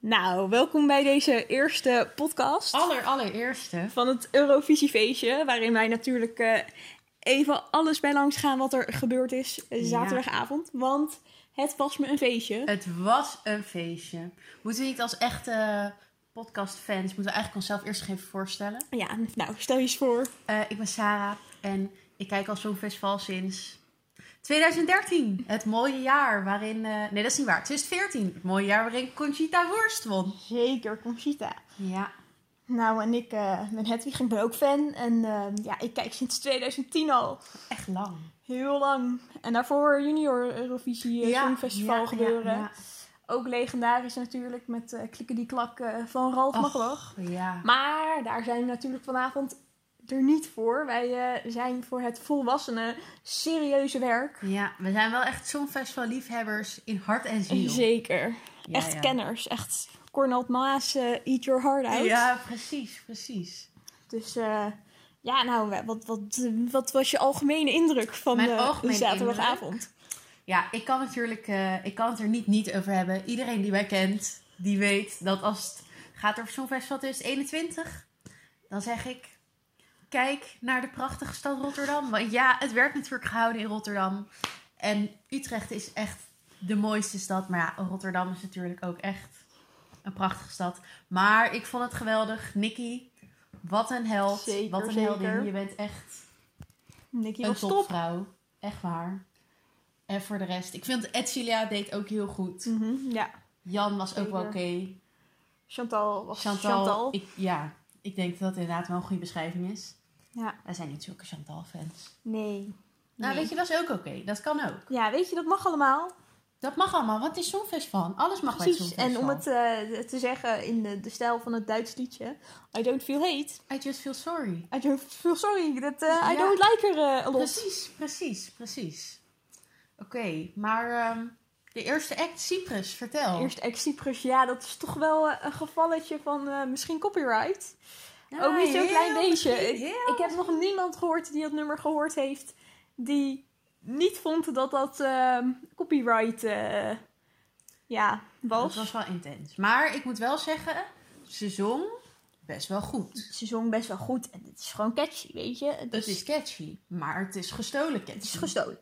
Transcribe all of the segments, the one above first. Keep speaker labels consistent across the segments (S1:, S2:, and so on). S1: Nou, welkom bij deze eerste podcast
S2: Aller, allereerste.
S1: van het Eurovisiefeestje, waarin wij natuurlijk eh, even alles bij langs gaan wat er gebeurd is eh, zaterdagavond, want het was me een feestje.
S2: Het was een feestje. Moeten we niet als echte podcastfans, moeten we eigenlijk onszelf eerst nog even voorstellen.
S1: Ja, nou, stel je eens voor.
S2: Eh, ik ben Sarah en ik kijk al Songfestival sinds 2013. Het mooie jaar waarin... eh, nee, dat is niet waar. 2014. Het mooie jaar waarin Conchita Wurst won.
S1: Zeker, Conchita.
S2: Ja.
S1: Nou, en ik ben Hedwig, ik ben ook fan en ehm, ja, ik kijk sinds 2010 al.
S2: Echt lang.
S1: Heel lang. En daarvoor Junior Eurovisie eh, Songfestival
S2: ja,
S1: gebeuren.
S2: Ja,
S1: Ook legendarisch natuurlijk met eh klikken die klak eh, van Ralf
S2: Och.
S1: Magbach.
S2: ja. ja.
S1: Maar daar zijn we natuurlijk vanavond er niet voor. Wij eh, zijn voor het volwassene, serieuze werk.
S2: Ja, we zijn wel echt Songfestival liefhebbers in hart en ziel.
S1: Zeker.
S2: Ja,
S1: echt
S2: ja.
S1: kenners. Echt Cornel Maas, eh, eat your heart out.
S2: Ja, precies, precies.
S1: Dus eh, ja, nou, wat, wat, wat was je algemene indruk van
S2: Mijn
S1: eh,
S2: algemene
S1: zaterdagavond?
S2: Ja, ik kan, natuurlijk, eh, ik kan het er niet niet over hebben. Iedereen die mij kent, die weet dat als het gaat over Songfestival 2021, dan zeg ik... Kijk naar de prachtige stad Rotterdam. Want ja, het werd natuurlijk gehouden in Rotterdam. En Utrecht is echt de mooiste stad. Maar ja, Rotterdam is natuurlijk ook echt een prachtige stad. Maar ik vond het geweldig. Nicky, wat een held.
S1: Zeker,
S2: wat een
S1: zeker.
S2: heldin. Je bent echt
S1: Nicky
S2: een
S1: was top.
S2: topvrouw. Echt waar. En voor de rest. Ik vind Edcilia deed ook heel goed.
S1: Mhm, ja.
S2: Jan was ook wel oké.
S1: Zeker. Chantal was
S2: Chantal.
S1: Chantal.
S2: Ik, ja, ik denk dat dat inderdaad wel een goede beschrijving is.
S1: Ja.
S2: Wij zijn niet zulke Chantal-fans.
S1: Nee.
S2: Nou,
S1: Nee.
S2: weet je, dat is ook oké. Dat kan ook.
S1: Ja, weet je, dat mag allemaal.
S2: Dat mag allemaal, want het is Songfestival. Alles mag bij het
S1: Precies, en om
S2: Songfestival.
S1: het eh, te zeggen in de, de stijl van het Duits liedje. I don't feel hate.
S2: I just feel sorry.
S1: I don't feel sorry. That, eh, I
S2: Ja.
S1: don't like her eh, a lot.
S2: Precies, precies, precies. Oké, maar ehm, de eerste act, Cyprus, vertel.
S1: Eerst ex-Cyprus, ja, dat is toch wel eh, een gevalletje van eh, misschien copyright.
S2: Ja,
S1: Ook niet zo'n
S2: heel
S1: klein beetje.
S2: misschien,
S1: Ik,
S2: heel
S1: ik heb nog niemand gehoord die dat nummer gehoord heeft die niet vond dat dat ehm, copyright eh, ja,
S2: Dat
S1: was.
S2: was wel intens. Maar ik moet wel zeggen, ze zong best wel goed.
S1: Ze zong best wel goed en het is gewoon catchy, weet je. Het
S2: Het is catchy, maar Dus- het is gestolen catchy.
S1: het is gestolen.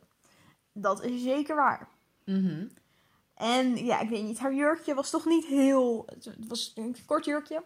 S1: Dat is zeker waar.
S2: Mhm.
S1: En ja, ik weet niet, haar jurkje was toch niet heel. Het was een kort jurkje.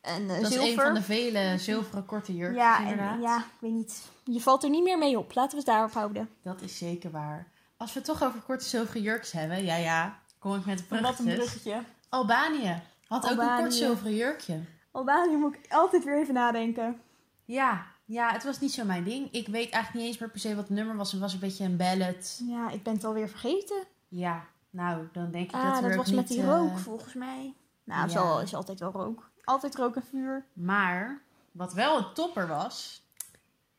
S1: En eh,
S2: Dat is
S1: zilver.
S2: een van de vele zilveren korte jurkjes
S1: ja,
S2: inderdaad.
S1: en, ja, ik weet niet. Je valt er niet meer mee op. Laten we het daarop houden.
S2: Dat is zeker waar. Als we het toch over korte zilveren jurks hebben, ja ja, kom ik met
S1: Wat een
S2: bruggetjes.
S1: bruggetje.
S2: Albanië had ook een
S1: Albanië.
S2: kort zilveren jurkje.
S1: Albanië moet ik altijd weer even nadenken.
S2: Ja, ja, het was niet zo mijn ding. Ik weet eigenlijk niet eens meer per se wat het nummer was. Het was een beetje een ballad.
S1: Ja, ik ben het alweer vergeten.
S2: Ja, nou, dan denk ik
S1: ah,
S2: dat
S1: dat,
S2: we ook
S1: was met
S2: niet,
S1: die
S2: eh,
S1: rook volgens mij. Nou, het is
S2: ja.
S1: al- is altijd wel rook. Altijd rook en vuur.
S2: Maar wat wel een topper was,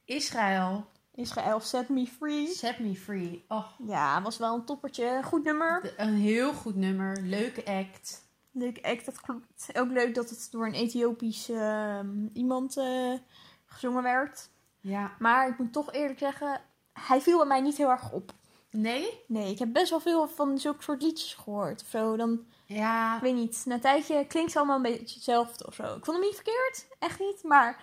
S2: Israël,
S1: Israël, set me free.
S2: Set Me Free. Oh,
S1: Ja, was wel een toppertje. Goed nummer.
S2: de- een heel goed nummer, leuke act.
S1: Leuk act, dat klopt. Ook leuk dat het door een Ethiopisch ehm, iemand eh, gezongen werd.
S2: Ja.
S1: Maar ik moet toch eerlijk zeggen, hij viel bij mij niet heel erg op.
S2: Nee?
S1: Nee, ik heb best wel veel van zulke soort liedjes gehoord. Of zo, dan, ik
S2: Ja.
S1: weet niet, na een tijdje klinkt ze allemaal een beetje hetzelfde of zo. Ik vond hem niet verkeerd, echt niet. Maar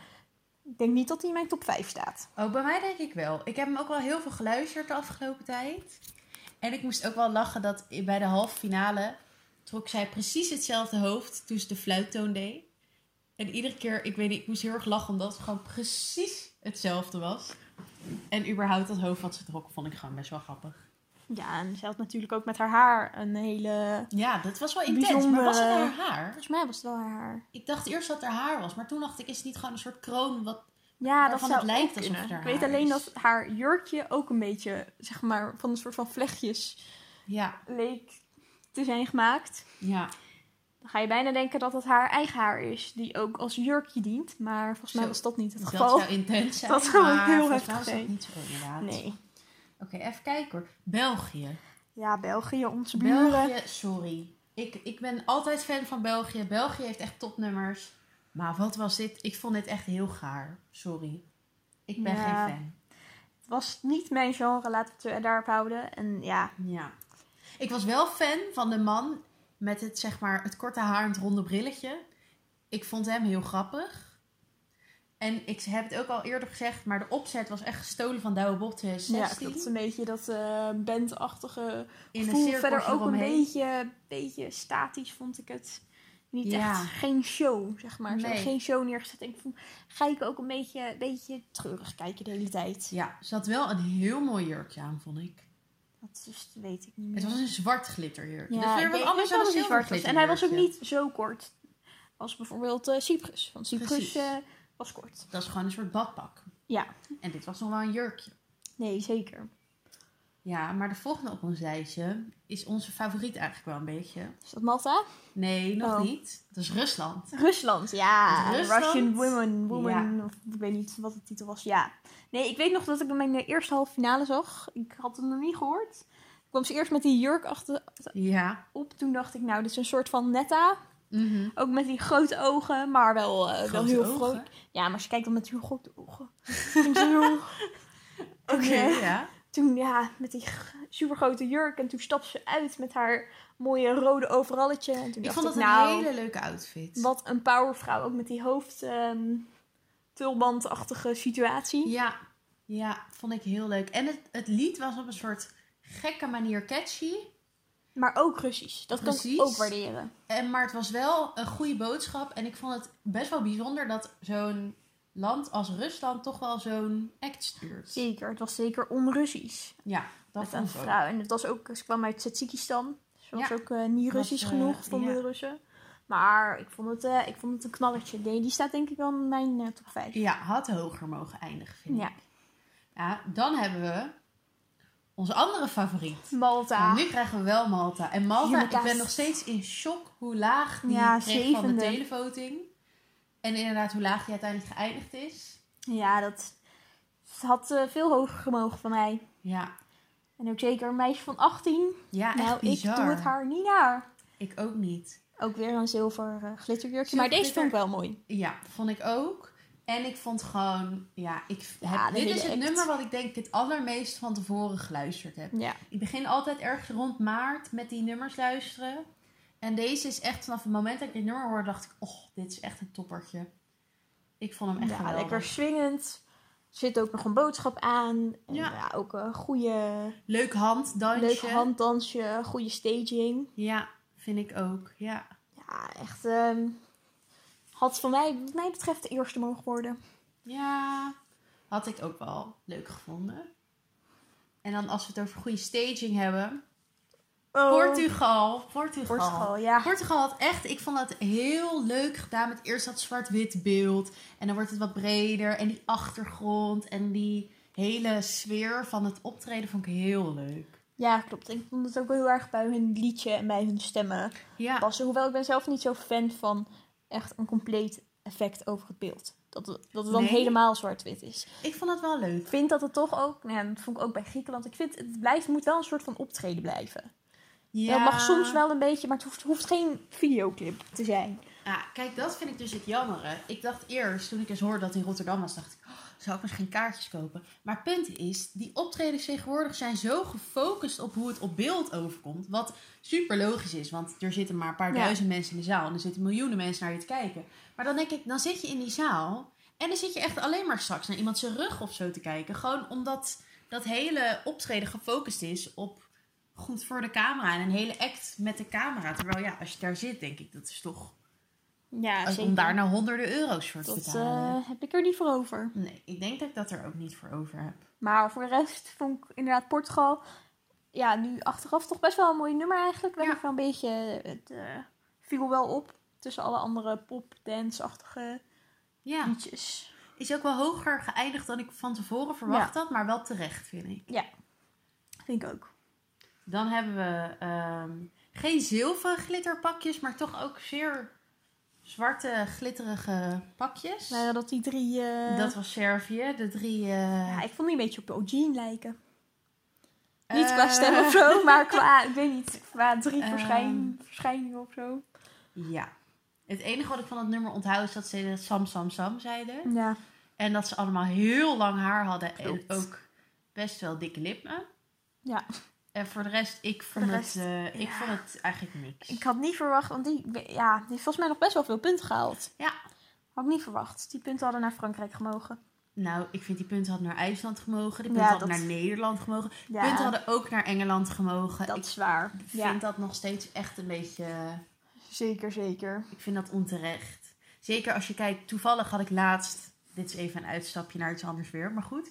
S1: ik denk niet dat hij in mijn top 5 staat.
S2: Oh, bij mij denk ik wel. Ik heb hem ook wel heel veel geluisterd de afgelopen tijd. En ik moest ook wel lachen dat i- bij de halve finale trok zij precies hetzelfde hoofd toen ze de fluittoon deed. En iedere keer, ik weet niet, ik moest heel erg lachen omdat het gewoon precies hetzelfde was. En überhaupt dat hoofd wat ze trok vond ik gewoon best wel grappig.
S1: Ja, en ze had natuurlijk ook met haar haar een hele...
S2: Ja, dat was wel intens.
S1: Bijzonder. eh,
S2: Maar was het haar haar?
S1: Volgens mij was het wel haar haar.
S2: Ik dacht eerst dat het haar haar was, maar toen dacht ik, is het niet gewoon een soort kroon? Wat...
S1: Ja, dat
S2: Waarvan
S1: zou
S2: het lijkt
S1: ook
S2: alsof
S1: kunnen.
S2: het haar
S1: Ik weet
S2: haar
S1: alleen
S2: is.
S1: dat haar jurkje ook een beetje, zeg maar, van een soort van vlechtjes
S2: Ja,
S1: leek te zijn gemaakt.
S2: ja.
S1: Dan ga je bijna denken dat het haar eigen haar is, die ook als jurkje dient. Maar volgens mij
S2: Zo,
S1: was dat niet het
S2: dat
S1: geval.
S2: zou intens zijn.
S1: Dat zou
S2: maar
S1: heel
S2: volgens mij
S1: heftig
S2: was dat
S1: zijn.
S2: niet zo inderdaad.
S1: Nee.
S2: Oké, even kijken hoor. België.
S1: Ja, België, onze buren.
S2: België, sorry. Ik, ik ben altijd fan van België. België heeft echt topnummers. Maar wat was dit? Ik vond dit echt heel gaar. Sorry. Ik ben
S1: Ja.
S2: geen fan.
S1: was niet mijn genre, laten we het daarop houden. En ja,
S2: Ja. Ik was wel fan van de man met het, zeg maar, het korte haar en het ronde brilletje. Ik vond hem heel grappig. En ik heb het ook al eerder gezegd, maar de opzet was echt gestolen van Douwe Bob
S1: ja
S2: 2016.
S1: dat is een beetje dat eh bandachtige
S2: in
S1: gevoel. Verder
S2: cirkeltje
S1: ook een
S2: eromheen.
S1: beetje, beetje statisch vond ik het. Niet
S2: Ja.
S1: echt geen show, zeg maar. Ze
S2: Nee.
S1: hadden geen show neergezet. En Ik vond, ga ik ook een beetje, beetje treurig kijken de hele tijd.
S2: Ja, ze had wel een heel mooi jurkje aan, vond ik.
S1: Dat is, weet ik niet meer.
S2: Het was een zwart glitterjurkje.
S1: Ja,
S2: dat is
S1: ik
S2: weer wat
S1: denk
S2: anders
S1: wel
S2: dan een
S1: dat hij
S2: zilver
S1: zwart was. En hij was ook
S2: glitterjurkje.
S1: niet zo kort als bijvoorbeeld eh, Cyprus. Want Cyprus
S2: Precies.
S1: eh, was kort.
S2: Dat is gewoon een soort badpak.
S1: Ja.
S2: En dit was nog wel een jurkje.
S1: Nee, zeker.
S2: Ja, maar de volgende op ons lijstje is onze favoriet eigenlijk wel een beetje.
S1: Is Dus dat Malta?
S2: Nee, nog
S1: Oh.
S2: niet. Dat is Rusland.
S1: Rusland, ja.
S2: Rusland?
S1: Russian Women, Woman, of ik weet niet wat de titel was. Ja. Nee, ik weet nog dat ik hem in de eerste halve finale zag. Ik had hem nog niet gehoord. Ik kwam ze eerst met die jurk achter
S2: Ja.
S1: op. Toen dacht ik, nou, dit is een soort van netta. Ook met die grote ogen, maar wel, eh, wel
S2: Mhm. Grote
S1: Eh, heel
S2: ogen.
S1: groot. Ja, maar ze kijkt dan met heel grote ogen. Toen ze zo-
S2: Oké,
S1: Oké.
S2: ja.
S1: toen ja, met die g- supergrote jurk. En toen stapte ze uit met haar mooie rode overalletje. En toen
S2: Ik
S1: dacht
S2: vond dat
S1: ik, nou,
S2: een hele leuke outfit.
S1: wat een powervrouw. Ook met die hoofd ehm, tulbandachtige situatie.
S2: Ja. Ja, vond ik heel leuk. En het, het lied was op een soort gekke manier catchy.
S1: Maar ook Russisch. Dat kan ik
S2: Precies.
S1: ook waarderen.
S2: En, maar het was wel een goede boodschap. En ik vond het best wel bijzonder dat zo'n land als Rusland toch wel zo'n act stuurt.
S1: Zeker, het was zeker onrussisch.
S2: Ja, dat
S1: Met een
S2: vond ik ook.
S1: vrouw. En het was ook, ze kwam uit Tsjetsjikistan. Ze was
S2: Ja.
S1: ook eh, niet
S2: Dat,
S1: Russisch
S2: eh,
S1: genoeg, vonden
S2: ja.
S1: de Russen. Maar ik vond het, eh, ik vond het een knalletje. Die, die staat denk ik wel in mijn eh, top 5.
S2: Ja, had hoger mogen eindigen, vind
S1: Ja.
S2: ik. Ja, dan hebben we onze andere favoriet.
S1: Malta.
S2: Nou, nu krijgen we wel Malta. En Malta,
S1: Jullie
S2: ik ben
S1: kaas.
S2: nog steeds in shock hoe laag die
S1: Ja,
S2: kreeg van
S1: zevende.
S2: de televoting. En inderdaad, hoe laag die uiteindelijk geëindigd is.
S1: Ja, dat het had eh, veel hoger gemogen van mij.
S2: Ja,
S1: En ook zeker een meisje van 18.
S2: ja echt
S1: nou,
S2: bizar.
S1: ik doe het haar niet naar.
S2: Ik ook niet.
S1: Ook weer een zilver eh, glitterjurkje.
S2: Zilver
S1: Maar deze
S2: glitter.
S1: vond ik wel mooi.
S2: Ja, vond ik ook. En ik vond gewoon, ja, ik
S1: Ja,
S2: heb-
S1: de
S2: dit
S1: hele
S2: is het
S1: act.
S2: nummer wat ik denk ik het allermeest van tevoren geluisterd heb.
S1: Ja.
S2: Ik begin altijd ergens rond maart met die nummers luisteren. En deze is echt vanaf het moment dat ik dit nummer hoorde, dacht ik, oh, dit is echt een toppertje. Ik vond hem echt
S1: ja
S2: geweldig.
S1: lekker swingend. Er zit ook nog een boodschap aan. En, ja.
S2: Ja.
S1: ook een goede
S2: Leuk handdansje.
S1: leuk handdansje, goede staging.
S2: Ja, vind ik ook. Ja.
S1: Ja, echt. ehm, had voor mij, wat mij betreft, de eerste mogen worden.
S2: ja, had ik ook wel leuk gevonden. En dan als we het over goede staging hebben. Portugal, Portugal.
S1: Oh. Portugal, ja.
S2: Portugal had echt, ik vond dat heel leuk gedaan met eerst dat zwart-wit beeld. En dan wordt het wat breder. En die achtergrond en die hele sfeer van het optreden vond ik heel leuk.
S1: Ja, klopt. Ik vond het ook wel heel erg bij hun liedje en bij hun stemmen.
S2: Ja,
S1: passen. Hoewel ik ben zelf niet zo fan van echt een compleet effect over het beeld. Dat, het- dat het dan
S2: Nee?
S1: helemaal zwart-wit is.
S2: ik vond dat wel leuk.
S1: Ik vind dat het toch ook, nou ja, dat vond ik ook bij Griekenland, ik vind het blijft, moet wel een soort van optreden blijven.
S2: Ja.
S1: Dat mag soms wel een beetje, maar het hoeft, hoeft geen videoclip te zijn.
S2: Ja, kijk, dat vind ik dus het jammere. Ik dacht eerst, toen ik eens hoorde dat het in Rotterdam was, dacht ik, oh, zou ik misschien kaartjes kopen? Maar het punt is, die optredens tegenwoordig zijn zo gefocust op hoe het op beeld overkomt. Wat super logisch is, want er zitten maar een paar
S1: Ja.
S2: duizend mensen in de zaal en er zitten miljoenen mensen naar je te kijken. Maar dan denk ik, dan zit je in die zaal en dan zit je echt alleen maar straks naar iemand zijn rug of zo te kijken. Gewoon omdat dat hele optreden gefocust is op goed voor de camera en een hele act met de camera. Terwijl ja, als je daar zit, denk ik, dat is toch...
S1: Ja,
S2: Als- om daar nou honderden euro's voor te
S1: Dat
S2: betalen.
S1: eh, heb ik er niet voor over.
S2: Nee, ik denk dat ik dat er ook niet voor over heb.
S1: Maar voor de rest vond ik inderdaad Portugal. Ja, nu achteraf toch best wel een mooi nummer eigenlijk. Ben
S2: Ja.
S1: ik wel een beetje. Het eh, viel wel op tussen alle andere pop, dance-achtige
S2: Ja,
S1: liedjes.
S2: is ook wel hoger geëindigd dan ik van tevoren verwacht had, maar wel terecht, vind ik.
S1: Vind ik ook.
S2: Dan hebben we ehm, geen zilveren glitterpakjes, maar toch ook zeer zwarte, glitterige pakjes.
S1: Nou, ja, dat die drie. eh,
S2: dat was Servië, de drie... eh,
S1: ja, ik vond die een beetje op Eugene lijken. Niet qua
S2: eh,
S1: stem of zo, maar qua, ik weet niet, qua drie
S2: Ehm.
S1: verschijn, verschijningen of zo.
S2: Ja. Het enige wat ik van het nummer onthoud is dat ze dat Sam Sam Sam zeiden.
S1: Ja,
S2: En dat ze allemaal heel lang haar hadden.
S1: Klopt.
S2: En ook best wel dikke lippen.
S1: Ja.
S2: En voor de rest, ik vond,
S1: rest,
S2: het, eh, ik
S1: ja.
S2: vond het eigenlijk niks.
S1: Ik had niet verwacht, want die, ja, die heeft volgens mij nog best wel veel punten gehaald.
S2: Ja.
S1: Had ik niet verwacht. Die punten hadden naar Frankrijk gemogen.
S2: Nou, ik vind die punten hadden naar IJsland gemogen. Die
S1: Ja,
S2: punten hadden
S1: dat-
S2: naar Nederland gemogen.
S1: Ja,
S2: Punten hadden ook naar Engeland gemogen.
S1: dat
S2: ik
S1: is waar.
S2: vind
S1: Ja,
S2: dat nog steeds echt een beetje... eh,
S1: zeker, zeker.
S2: Ik vind dat onterecht. Zeker als je kijkt, toevallig had ik laatst. Dit is even een uitstapje naar iets anders weer, maar goed.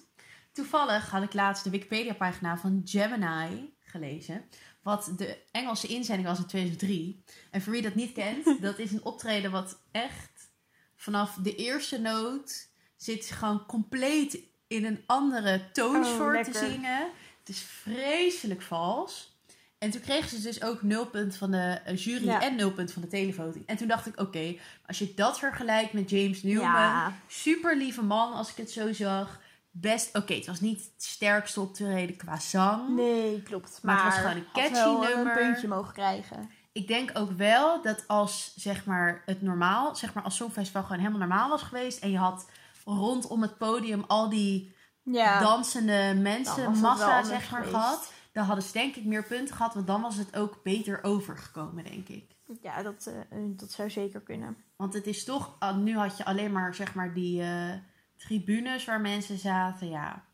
S2: Toevallig had ik laatst de Wikipedia-pagina van Gemini gelezen. Wat de Engelse inzending was in 2003. En voor wie dat niet kent, dat is een optreden wat echt vanaf de eerste noot zit ze gewoon compleet in een andere toonsoort
S1: Oh,
S2: te
S1: lekker.
S2: zingen. Het is vreselijk vals. En toen kregen ze dus ook nul punt van de eh, jury
S1: Ja.
S2: en nul punt van de televoting. En toen dacht ik, oké, als je dat vergelijkt met James Newman,
S1: Ja.
S2: super lieve man als ik het zo zag. Best, oké, het was niet het sterkste optreden qua zang.
S1: Nee, klopt.
S2: Maar
S1: Maar,
S2: het was gewoon een
S1: had
S2: catchy
S1: wel
S2: nummer.
S1: een puntje mogen krijgen.
S2: Ik denk ook wel dat als zeg maar, het normaal, zeg maar als Songfestival gewoon helemaal normaal was geweest en je had rondom het podium al die
S1: Ja,
S2: dansende
S1: Dan was
S2: mensen,
S1: het wel
S2: massa
S1: anders
S2: zeg maar
S1: geweest.
S2: gehad, dan hadden ze denk ik meer punten gehad, want dan was het ook beter overgekomen, denk ik.
S1: ja dat, eh, dat zou zeker kunnen.
S2: Want het is toch, ah, nu had je alleen maar zeg maar die eh, tribunes waar mensen zaten. Ja,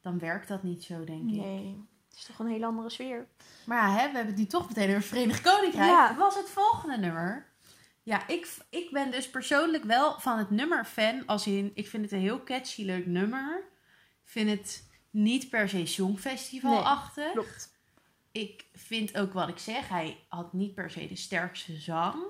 S2: dan werkt dat niet zo, denk ik.
S1: Nee, het is toch een hele andere sfeer.
S2: Maar ja, hè, we hebben het nu toch meteen over Verenigd Koninkrijk.
S1: Ja.
S2: was het volgende nummer. Ja, ik, ik ben dus persoonlijk wel van het nummer fan. Als in, ik vind het een heel catchy, leuk nummer. Ik vind het niet per se songfestivalachtig.
S1: Klopt.
S2: ik vind ook wat ik zeg, hij had niet per se de sterkste zang.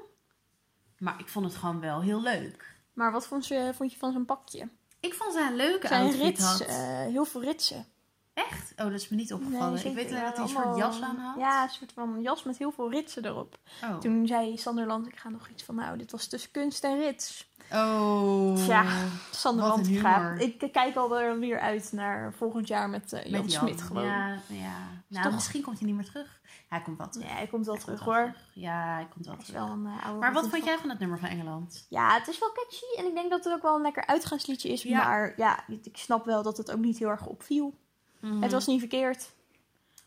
S2: Maar ik vond het gewoon wel heel leuk.
S1: Maar wat vond je, vond je van zijn pakje?
S2: Ik vond zijn leuke
S1: Zijn
S2: outfit
S1: rits,
S2: had.
S1: eh, heel veel ritsen.
S2: Echt? Oh, dat is me niet opgevallen.
S1: Nee,
S2: ik weet
S1: zeker.
S2: alleen dat hij een
S1: Ja,
S2: soort jas aan
S1: allemaal-
S2: had.
S1: Ja, een soort van jas met heel veel ritsen erop.
S2: Oh.
S1: Toen zei Sanderland, ik ga nog iets van, nou, dit was tussen kunst en rits.
S2: oh.
S1: Tja, Sanderland
S2: Wat een
S1: gaat.
S2: humor.
S1: Ik kijk al wel weer uit naar volgend jaar met eh, Jan,
S2: Met Jan.
S1: Smit gewoon. Ja.
S2: Ja, ja. Nou,
S1: toch-
S2: misschien komt hij niet meer terug. Hij komt wel terug.
S1: hij komt wel
S2: Hij komt
S1: terug hoor.
S2: terug. Ja, hij komt wel
S1: Hij is
S2: terug.
S1: wel een eh, oude
S2: Maar wat
S1: vriend
S2: vond
S1: van-
S2: jij van het nummer van Engeland?
S1: Ja, het is wel catchy en ik denk dat het ook wel een lekker uitgaansliedje is.
S2: Ja.
S1: Maar ja, ik snap wel dat het ook niet heel erg opviel. Mm.
S2: Mhm.
S1: Het was niet verkeerd.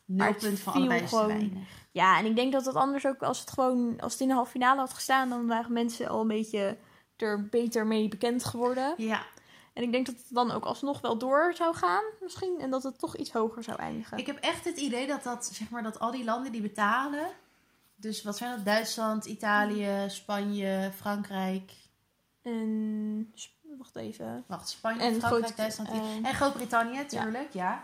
S1: maar
S2: nul
S1: het
S2: punt van
S1: viel
S2: allebei is te
S1: gewoon-
S2: weinig.
S1: Ja, en ik denk dat het anders ook als het gewoon als het in de halve finale had gestaan, dan waren mensen al een beetje er beter mee bekend geworden.
S2: Ja,
S1: En ik denk dat het dan ook alsnog wel door zou gaan, misschien. En dat het toch iets hoger zou eindigen.
S2: ik heb echt het idee dat, dat, zeg maar, dat al die landen die betalen... Dus wat zijn dat? Duitsland, Italië, Spanje, Frankrijk...
S1: En sp- wacht even.
S2: Wacht, Spanje,
S1: En
S2: Frankrijk,
S1: Groot-
S2: Duitsland...
S1: eh,
S2: En Groot-Brittannië, tuurlijk, ja.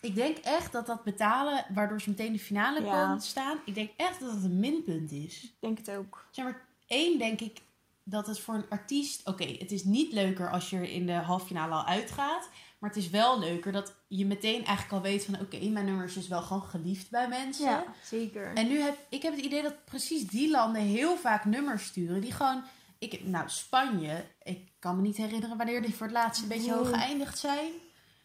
S2: Ik denk echt dat dat betalen, waardoor ze meteen in de finale
S1: Ja.
S2: komen te staan... Ik denk echt dat dat een minpunt is.
S1: Ik denk het ook.
S2: Zeg maar, één denk ik dat het voor een artiest... Oké, het is niet leuker als je er in de halffinale al uitgaat. Maar het is wel leuker dat je meteen eigenlijk al weet van... Oké, mijn nummer is dus wel gewoon geliefd bij mensen.
S1: zeker.
S2: En nu heb ik heb het idee dat precies die landen heel vaak nummers sturen. Die gewoon. Ik, nou, Spanje, ik kan me niet herinneren wanneer die voor het laatst een beetje
S1: Nee.
S2: hoog geëindigd zijn.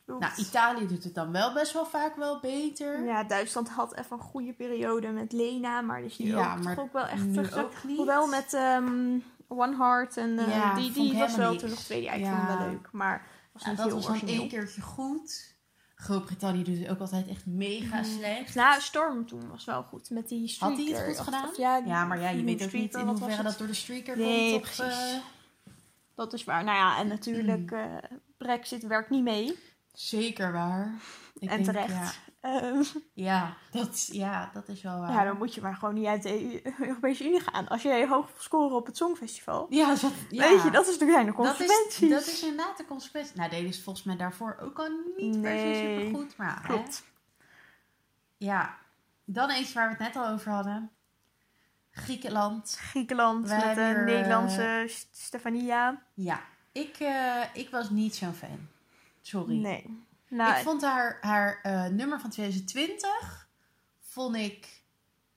S1: Klopt.
S2: Nou, Italië doet het dan wel best wel vaak wel beter.
S1: ja, Duitsland had even een goede periode met Lena, maar die is nu
S2: Ja,
S1: ook,
S2: maar
S1: toch ook wel echt
S2: nu
S1: terugzak.
S2: ook niet.
S1: Hoewel met ehm, One Heart en eh,
S2: Ja,
S1: die,
S2: vond ik
S1: die was
S2: helemaal
S1: wel
S2: niks.
S1: toen nog tweede. Ja, ik
S2: Ja.
S1: vond het wel leuk, maar was
S2: Ja,
S1: niet
S2: dat
S1: heel
S2: was dan
S1: origineel.
S2: één keertje goed. Groot-Brittannië doet het ook altijd echt mega slecht.
S1: Nou, Storm toen was wel goed met die streaker.
S2: Had hij het goed
S1: Of-
S2: gedaan?
S1: of Ja,
S2: Ja, maar ja, je
S1: die
S2: weet ook
S1: streaker,
S2: niet in
S1: wat was
S2: hoeverre
S1: het?
S2: dat door de streaker
S1: Nee,
S2: komt. Of,
S1: precies.
S2: eh,
S1: Dat is waar. Nou ja,
S2: Mm.
S1: en natuurlijk, eh, Brexit werkt niet mee.
S2: zeker waar. Ik
S1: en
S2: denk,
S1: terecht.
S2: Ja,
S1: Ehm,
S2: ja, dat, ja, dat is wel waar.
S1: ja, dan moet je maar gewoon niet uit de E EU Europese Unie gaan. Als jij hoog wil scoren op het Songfestival.
S2: Ja, zo-
S1: Weet je,
S2: ja.
S1: dat is natuurlijk zijn de
S2: Dat
S1: consequenties.
S2: is, dat is inderdaad de consequentie. Nou, deden ze volgens mij daarvoor ook al niet per se
S1: Nee.
S2: supergoed. Maar ja, hè.
S1: Klopt.
S2: ja, dan eentje waar we het net al over hadden. Griekenland.
S1: Griekenland
S2: Wij
S1: met de
S2: hebben hier, eh,
S1: Nederlandse S- Stefania.
S2: Ja, ik, eh, ik was niet zo'n fan. Sorry.
S1: Nee. Nou,
S2: ik vond haar, haar eh, nummer van 2020, vond ik,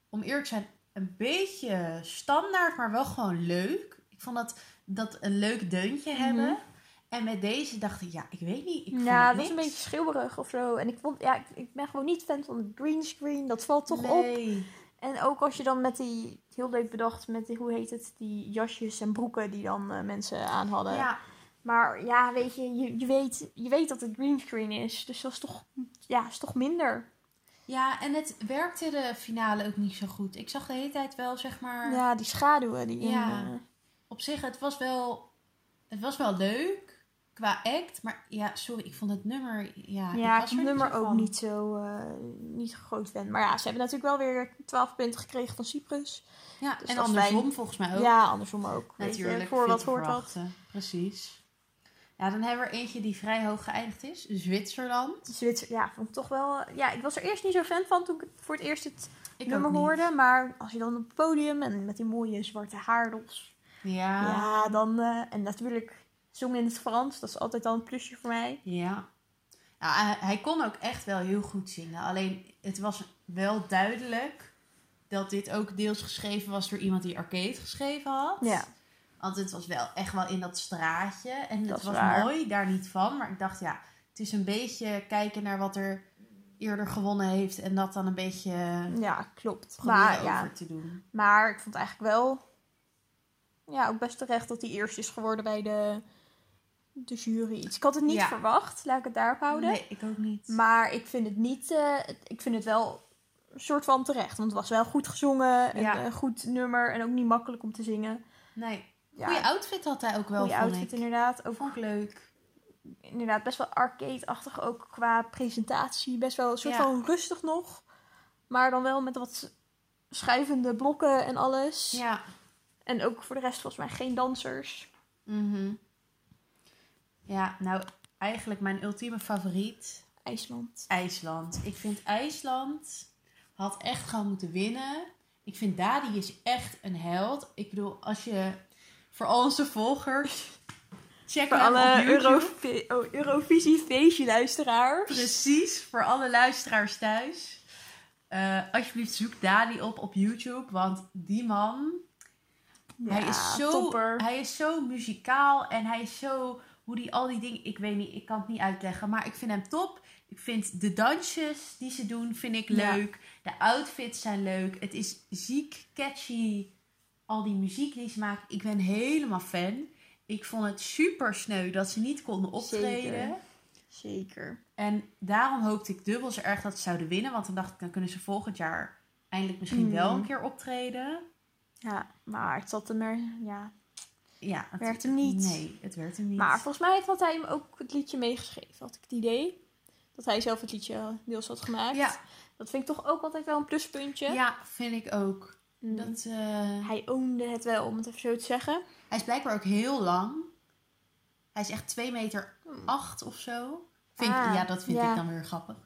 S2: om eerlijk te zijn, een beetje standaard, maar wel gewoon leuk. Ik vond dat, dat een leuk deuntje hebben. En met deze dacht ik, ja, ik weet niet. Ik vond
S1: Mhm. ja,
S2: het
S1: dat is een
S2: niks.
S1: beetje schreeuwerig of zo. En ik, vond, ja, ik, ik ben gewoon niet fan van het greenscreen. Dat valt toch op.
S2: Nee.
S1: En ook als je dan met die, heel leuk bedacht, met die, hoe heet het, die jasjes en broeken die dan eh, mensen aan hadden.
S2: Ja,
S1: Maar ja, weet je, je, je, weet, je weet dat het greenscreen is. Dus dat is toch, ja, is toch minder.
S2: Ja, en het werkte de finale ook niet zo goed. Ik zag de hele tijd wel, zeg maar...
S1: Ja, die schaduwen. Die in,
S2: Ja.
S1: eh,
S2: Op zich, het was wel... Het was wel leuk qua act. Maar ja, sorry, ik vond het nummer...
S1: ja,
S2: Ja, ik
S1: ik
S2: was
S1: heb het
S2: er
S1: nummer
S2: zo
S1: ook
S2: van.
S1: niet zo eh, niet groot fan. Maar ja, ze hebben natuurlijk wel weer 12 punten gekregen van Cyprus.
S2: Ja,
S1: Dus
S2: en
S1: dat is
S2: andersom
S1: fijn.
S2: volgens mij ook.
S1: Ja, andersom ook. weet je.
S2: Natuurlijk.
S1: voor
S2: viel
S1: wat
S2: te
S1: hoort wat.
S2: verwachten. Precies. Ja, dan hebben we er eentje die vrij hoog geëindigd is. Zwitserland.
S1: Zwitser, ja, vond ik toch wel. eh, Ja, ik was er eerst niet zo fan van toen ik het voor het eerst het
S2: Ik
S1: nummer
S2: ook niet.
S1: hoorde. Maar als je dan op het podium en met die mooie zwarte haardos.
S2: Ja. ja.
S1: Ja, dan. eh, en natuurlijk zongen in het Frans, dat is altijd al een plusje voor mij.
S2: Ja. Nou, hij- hij kon ook echt wel heel goed zingen. Alleen het was wel duidelijk dat dit ook deels geschreven was door iemand die arcade geschreven had.
S1: Ja,
S2: Want het was wel echt wel in dat straatje. En het
S1: Dat is
S2: was
S1: waar.
S2: mooi, daar niet van. Maar ik dacht, ja, het is een beetje kijken naar wat er eerder gewonnen heeft. En dat dan een beetje
S1: ja klopt.
S2: proberen
S1: Maar
S2: over
S1: ja,
S2: te doen.
S1: Maar ik vond eigenlijk wel. Ja, ook best terecht dat hij eerst is geworden bij de, de jury. Dus ik had het niet
S2: Ja.
S1: verwacht, laat ik het daarop houden.
S2: Nee, ik ook niet.
S1: Maar ik vind het niet. eh, ik vind het wel een soort van terecht. Want het was wel goed gezongen. en
S2: Ja.
S1: Een eh, goed nummer. En ook niet makkelijk om te zingen.
S2: nee.
S1: Ja,
S2: Goeie outfit had hij ook wel,
S1: goeie
S2: vond
S1: outfit
S2: ik.
S1: inderdaad. Ook
S2: Vond ik leuk.
S1: inderdaad best wel arcade-achtig. Ook qua presentatie. Best wel een soort
S2: Ja.
S1: van rustig nog. Maar dan wel met wat schuivende blokken en alles.
S2: Ja.
S1: En ook voor de rest volgens mij geen dansers.
S2: Mhm. Ja, nou eigenlijk mijn ultieme favoriet,
S1: IJsland.
S2: IJsland. Ik vind IJsland had echt gewoon moeten winnen. Ik vind Dadi is echt een held. Ik bedoel, als je voor al onze volgers, check
S1: Voor
S2: hem op
S1: alle
S2: YouTube.
S1: Eurovi- oh, Eurovisie feestje luisteraars.
S2: Precies, voor alle luisteraars thuis. Eh, alsjeblieft, zoek Dali op op YouTube, want die man, hij, is zo,
S1: Topper.
S2: hij is zo muzikaal en hij is zo. Hoe die al die dingen. Ik weet niet, ik kan het niet uitleggen. Maar ik vind hem top. Ik vind de dansjes die ze doen, vind ik
S1: Ja.
S2: leuk. De outfits zijn leuk. Het is ziek, catchy. Al die muziek die ze maken. Ik ben helemaal fan. Ik vond het super sneu dat ze niet konden optreden.
S1: Zeker. Zeker.
S2: En daarom hoopte ik dubbel zo erg dat ze zouden winnen. Want dan dacht ik, dan kunnen ze volgend jaar eindelijk misschien wel
S1: Mm.
S2: een keer optreden.
S1: Ja, maar het zat hem er... Ja.
S2: Ja, het
S1: Werd hem niet.
S2: Nee, het werd hem niet.
S1: Maar volgens mij had hij hem ook het liedje meegeschreven. Had ik het idee. Dat hij zelf het liedje deels had gemaakt.
S2: Ja.
S1: Dat vind ik toch ook altijd wel een pluspuntje.
S2: Ja, vind ik ook.
S1: Mm.
S2: Dat, eh,
S1: Hij oonde het wel, om het even zo te zeggen.
S2: hij is blijkbaar ook heel lang. Hij is echt 2 meter 8 of zo. Vind ik-
S1: Ah,
S2: ja, dat vind
S1: ja.
S2: ik dan weer grappig.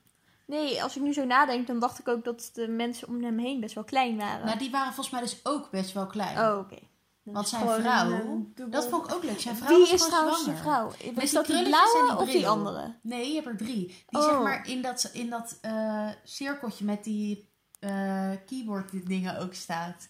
S1: Nee, als ik nu zo nadenk, dan dacht ik ook dat de mensen om hem heen best wel klein waren.
S2: Nou, die waren volgens mij dus ook best wel klein.
S1: Oh, oké. Dan
S2: Want
S1: is
S2: zijn
S1: gewoon
S2: vrouw,
S1: een, eh,
S2: Dat
S1: dubbel-
S2: vond ik ook leuk. Zijn vrouw
S1: Wie
S2: was
S1: is
S2: gewoon
S1: trouwens
S2: zwanger.
S1: de vrouw?
S2: die
S1: Is dat die
S2: krulletjes en
S1: blauwe
S2: die
S1: of die
S2: bril.
S1: andere?
S2: Nee, je hebt er drie. Die
S1: Oh.
S2: zeg maar in dat, in dat eh, cirkeltje met die eh keyboard dingen ook staat.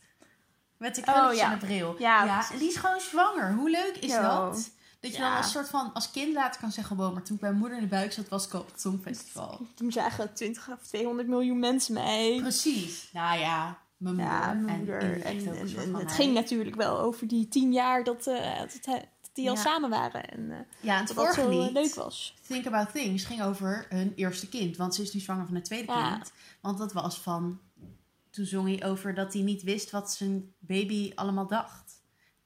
S2: Met de krulletjes
S1: Oh, ja.
S2: en de bril.
S1: Ja,
S2: en
S1: precies.
S2: die is gewoon zwanger. Hoe leuk is
S1: Yo.
S2: dat? Dat je dan
S1: Ja.
S2: als soort van als kind later kan zeggen: wow, maar toen ik bij moeder in de buik zat, was ik al op het Songfestival.
S1: Toen zagen 20 of 200 miljoen mensen mij.
S2: Precies. Nou ja, mijn moeder.
S1: Ja, mijn
S2: en
S1: moeder. En,
S2: indirect ook een
S1: en-
S2: soort
S1: en
S2: van
S1: het
S2: eh, mij.
S1: ging natuurlijk wel over die tien jaar dat, eh, dat, hij- dat die al
S2: Ja.
S1: samen waren. En eh,
S2: Ja, het
S1: dat dat zo
S2: vorige
S1: eh,
S2: lied.
S1: leuk was.
S2: Think About Things ging over hun eerste kind. Want ze is nu zwanger van het tweede
S1: Ja.
S2: kind. Want dat was van... Toen zong hij over dat hij niet wist wat zijn baby allemaal dacht.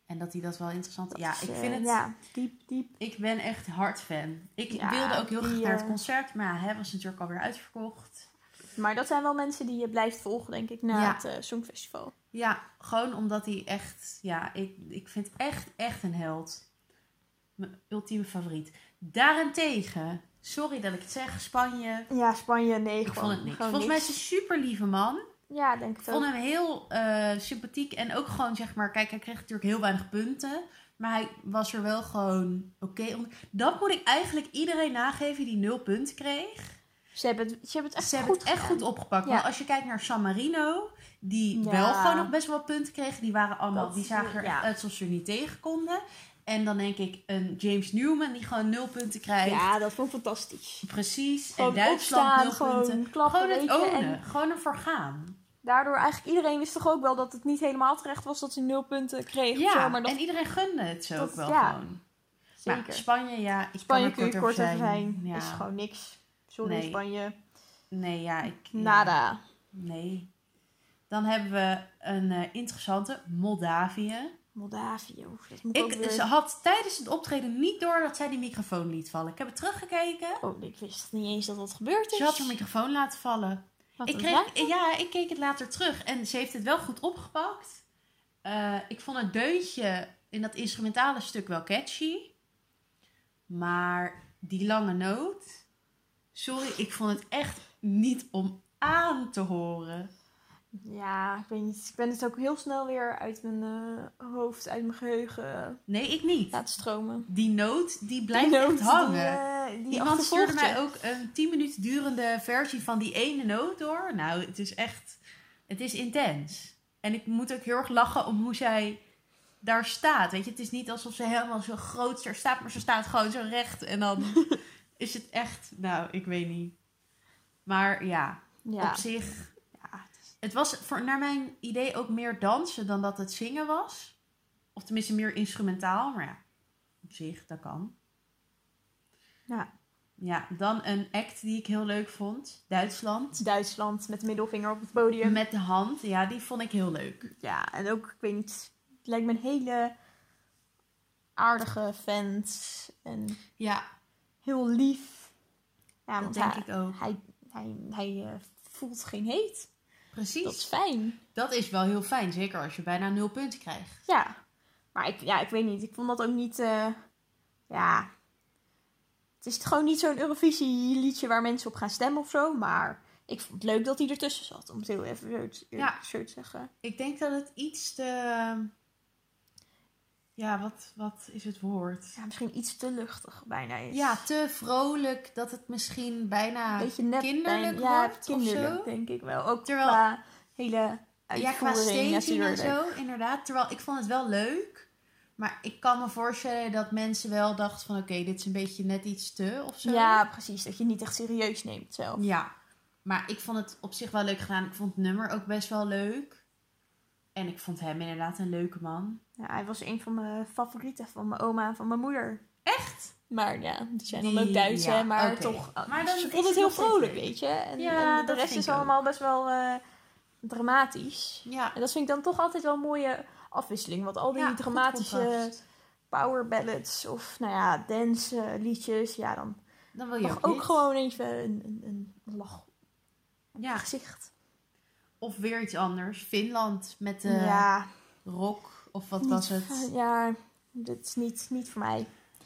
S2: En dat hij dat wel interessant...
S1: Dat
S2: ja,
S1: is,
S2: ik
S1: eh,
S2: vind het...
S1: Ja, diep, diep.
S2: Ik ben echt hard fan. Ik
S1: Ja,
S2: wilde ook heel graag
S1: die,
S2: naar het
S1: eh,
S2: concert. Maar ja, hij was natuurlijk alweer uitverkocht.
S1: Maar dat zijn wel mensen die je blijft volgen, denk ik, na
S2: Ja.
S1: het eh, Songfestival.
S2: Ja, gewoon omdat hij echt... Ja, ik, ik vind echt, echt een held. Mijn ultieme favoriet. Daarentegen... Sorry dat ik het zeg, Spanje.
S1: Ja, Spanje, nee,
S2: Ik
S1: gewoon
S2: vond het niks.
S1: gewoon
S2: Volgens mij is hij een super lieve man.
S1: Ja, denk
S2: Ik
S1: ik
S2: vond
S1: ook.
S2: hem heel eh, sympathiek en ook gewoon zeg maar, kijk, hij kreeg natuurlijk heel weinig punten, maar hij was er wel gewoon oké. onder. Dat moet ik eigenlijk iedereen nageven die nul punten kreeg.
S1: Ze hebben het, ze hebben het echt
S2: Ze hebben
S1: goed
S2: het echt
S1: gedaan.
S2: goed opgepakt.
S1: Ja.
S2: Maar als je kijkt naar San Marino, die
S1: Ja.
S2: wel gewoon nog best wel punten kregen, die waren allemaal,
S1: Dat-
S2: die zagen er
S1: ja.
S2: echt uit alsof ze er niet tegen konden. En dan denk ik een James Newman die gewoon nul punten krijgt.
S1: Ja, dat vond ik fantastisch.
S2: Precies.
S1: Gewoon
S2: en Duitsland
S1: opstaan,
S2: nul punten.
S1: gewoon klappen,
S2: Gewoon het
S1: weet je, en
S2: ownen. Gewoon ervoor gaan.
S1: daardoor eigenlijk iedereen wist toch ook wel dat het niet helemaal terecht was dat ze nul punten kreeg. of zo, maar dat
S2: en iedereen gunde het zo
S1: dat-
S2: ook wel
S1: ja,
S2: gewoon. Maar
S1: zeker.
S2: Nou, Spanje, ja, ik
S1: Spanje
S2: kan er
S1: kun je kort over zijn.
S2: Ja.
S1: Is gewoon niks. Sorry
S2: Nee.
S1: Spanje.
S2: Nee, ja, ik... ja,
S1: Nada.
S2: nee. Dan hebben we een eh, interessante Moldavië.
S1: Moldavië. oef, dat moet ik, ook
S2: Ik
S1: weer-
S2: ze had tijdens het optreden niet door dat zij die microfoon liet vallen. Ik heb het teruggekeken.
S1: Oh, ik wist niet eens dat dat gebeurd is.
S2: Ze had haar microfoon laten vallen.
S1: Wat
S2: Ik
S1: een
S2: kreeg,
S1: raar.
S2: ja, ik keek het later terug en ze heeft het wel goed opgepakt. Eh, ik vond het deuntje in dat instrumentale stuk wel catchy. Maar die lange noot. Sorry, ik vond het echt niet om aan te horen.
S1: Ja, ik weet niet. Ik ben het ook heel snel weer uit mijn eh, hoofd, uit mijn geheugen
S2: Nee, ik niet.
S1: laten stromen.
S2: Die noot, die blijft
S1: noot
S2: echt hangen.
S1: Die, eh, die
S2: Iemand
S1: achtervolgt
S2: stuurde
S1: je.
S2: mij ook een 10 minuten durende versie van die ene noot door. Nou, het is echt... Het is intens. En ik moet ook heel erg lachen om hoe zij daar staat. Weet je, het is niet alsof ze helemaal zo groot daar staat, maar ze staat gewoon zo recht. En dan is het echt... Nou, ik weet niet. Maar ja,
S1: Ja.
S2: op zich... Ja, het was voor, naar mijn idee ook meer dansen dan dat het zingen was. Of tenminste meer instrumentaal. Maar ja, op zich, dat kan.
S1: ja.
S2: Ja, dan een act die ik heel leuk vond. Duitsland.
S1: Duitsland met de middelvinger op het podium.
S2: Met de hand. Ja, die vond ik heel leuk.
S1: Ja, en ook, ik weet niet. Het lijkt me een hele aardige vent. En
S2: Ja,
S1: heel lief. Ja,
S2: dat
S1: want
S2: denk
S1: hij,
S2: ik ook.
S1: hij, hij, hij eh, voelt geen heet.
S2: Precies.
S1: Dat is fijn.
S2: Dat is wel heel fijn. Zeker als je bijna nul punten krijgt.
S1: Ja. Maar ik, ja, ik weet niet. Ik vond dat ook niet... eh, ja. Het is gewoon niet zo'n Eurovisie-liedje waar mensen op gaan stemmen of zo. Maar ik vond het leuk dat hij ertussen zat. Om het heel even zo te,
S2: Ja.
S1: zo te zeggen.
S2: Ik denk dat het iets te... Ja, wat, wat is het woord?
S1: Ja, misschien iets te luchtig bijna is.
S2: Ja, te vrolijk. Dat het misschien bijna...
S1: beetje nep
S2: kinderlijk
S1: bijna. Ja,
S2: wordt of
S1: kinderlijk
S2: zo.
S1: denk ik wel. Ook
S2: Terwijl-
S1: qua hele
S2: Ja, qua
S1: uitvoering
S2: staging en
S1: natuurlijk.
S2: zo, inderdaad. Terwijl ik vond het wel leuk. Maar ik kan me voorstellen dat mensen wel dachten van... Oké, dit is een beetje net iets te of zo.
S1: Ja, precies. Dat je niet echt serieus neemt zelf.
S2: Ja, maar ik vond het op zich wel leuk gedaan. Ik vond het nummer ook best wel leuk. En ik vond hem inderdaad een leuke man.
S1: Ja, hij was een van mijn favorieten van mijn oma en van mijn moeder.
S2: Echt?
S1: Maar ja, die zijn
S2: Die-
S1: dan ook Duits,
S2: ja,
S1: hè, maar
S2: oké.
S1: toch.
S2: Maar
S1: Maar
S2: dan
S1: ze
S2: is
S1: vond het
S2: het
S1: heel
S2: nog steeds
S1: vrolijk,
S2: leuk.
S1: weet je. En,
S2: Ja,
S1: en de
S2: dat
S1: rest
S2: vind
S1: is
S2: ik ook.
S1: allemaal best wel eh, dramatisch.
S2: Ja.
S1: En dat vind ik dan toch altijd wel een mooie afwisseling. Want al die
S2: Ja, goed
S1: dramatische
S2: contrast.
S1: power ballads of nou ja, dance eh, liedjes, ja, dan
S2: Dan wil je
S1: mag
S2: ook,
S1: ook
S2: Oh, dit.
S1: gewoon even een, een, een lach
S2: Ja.
S1: gezicht.
S2: Of weer iets anders. Finland met de
S1: ja,
S2: rock. Of eh, wat
S1: niet-
S2: was het?
S1: Ja, dit is niet, niet voor mij.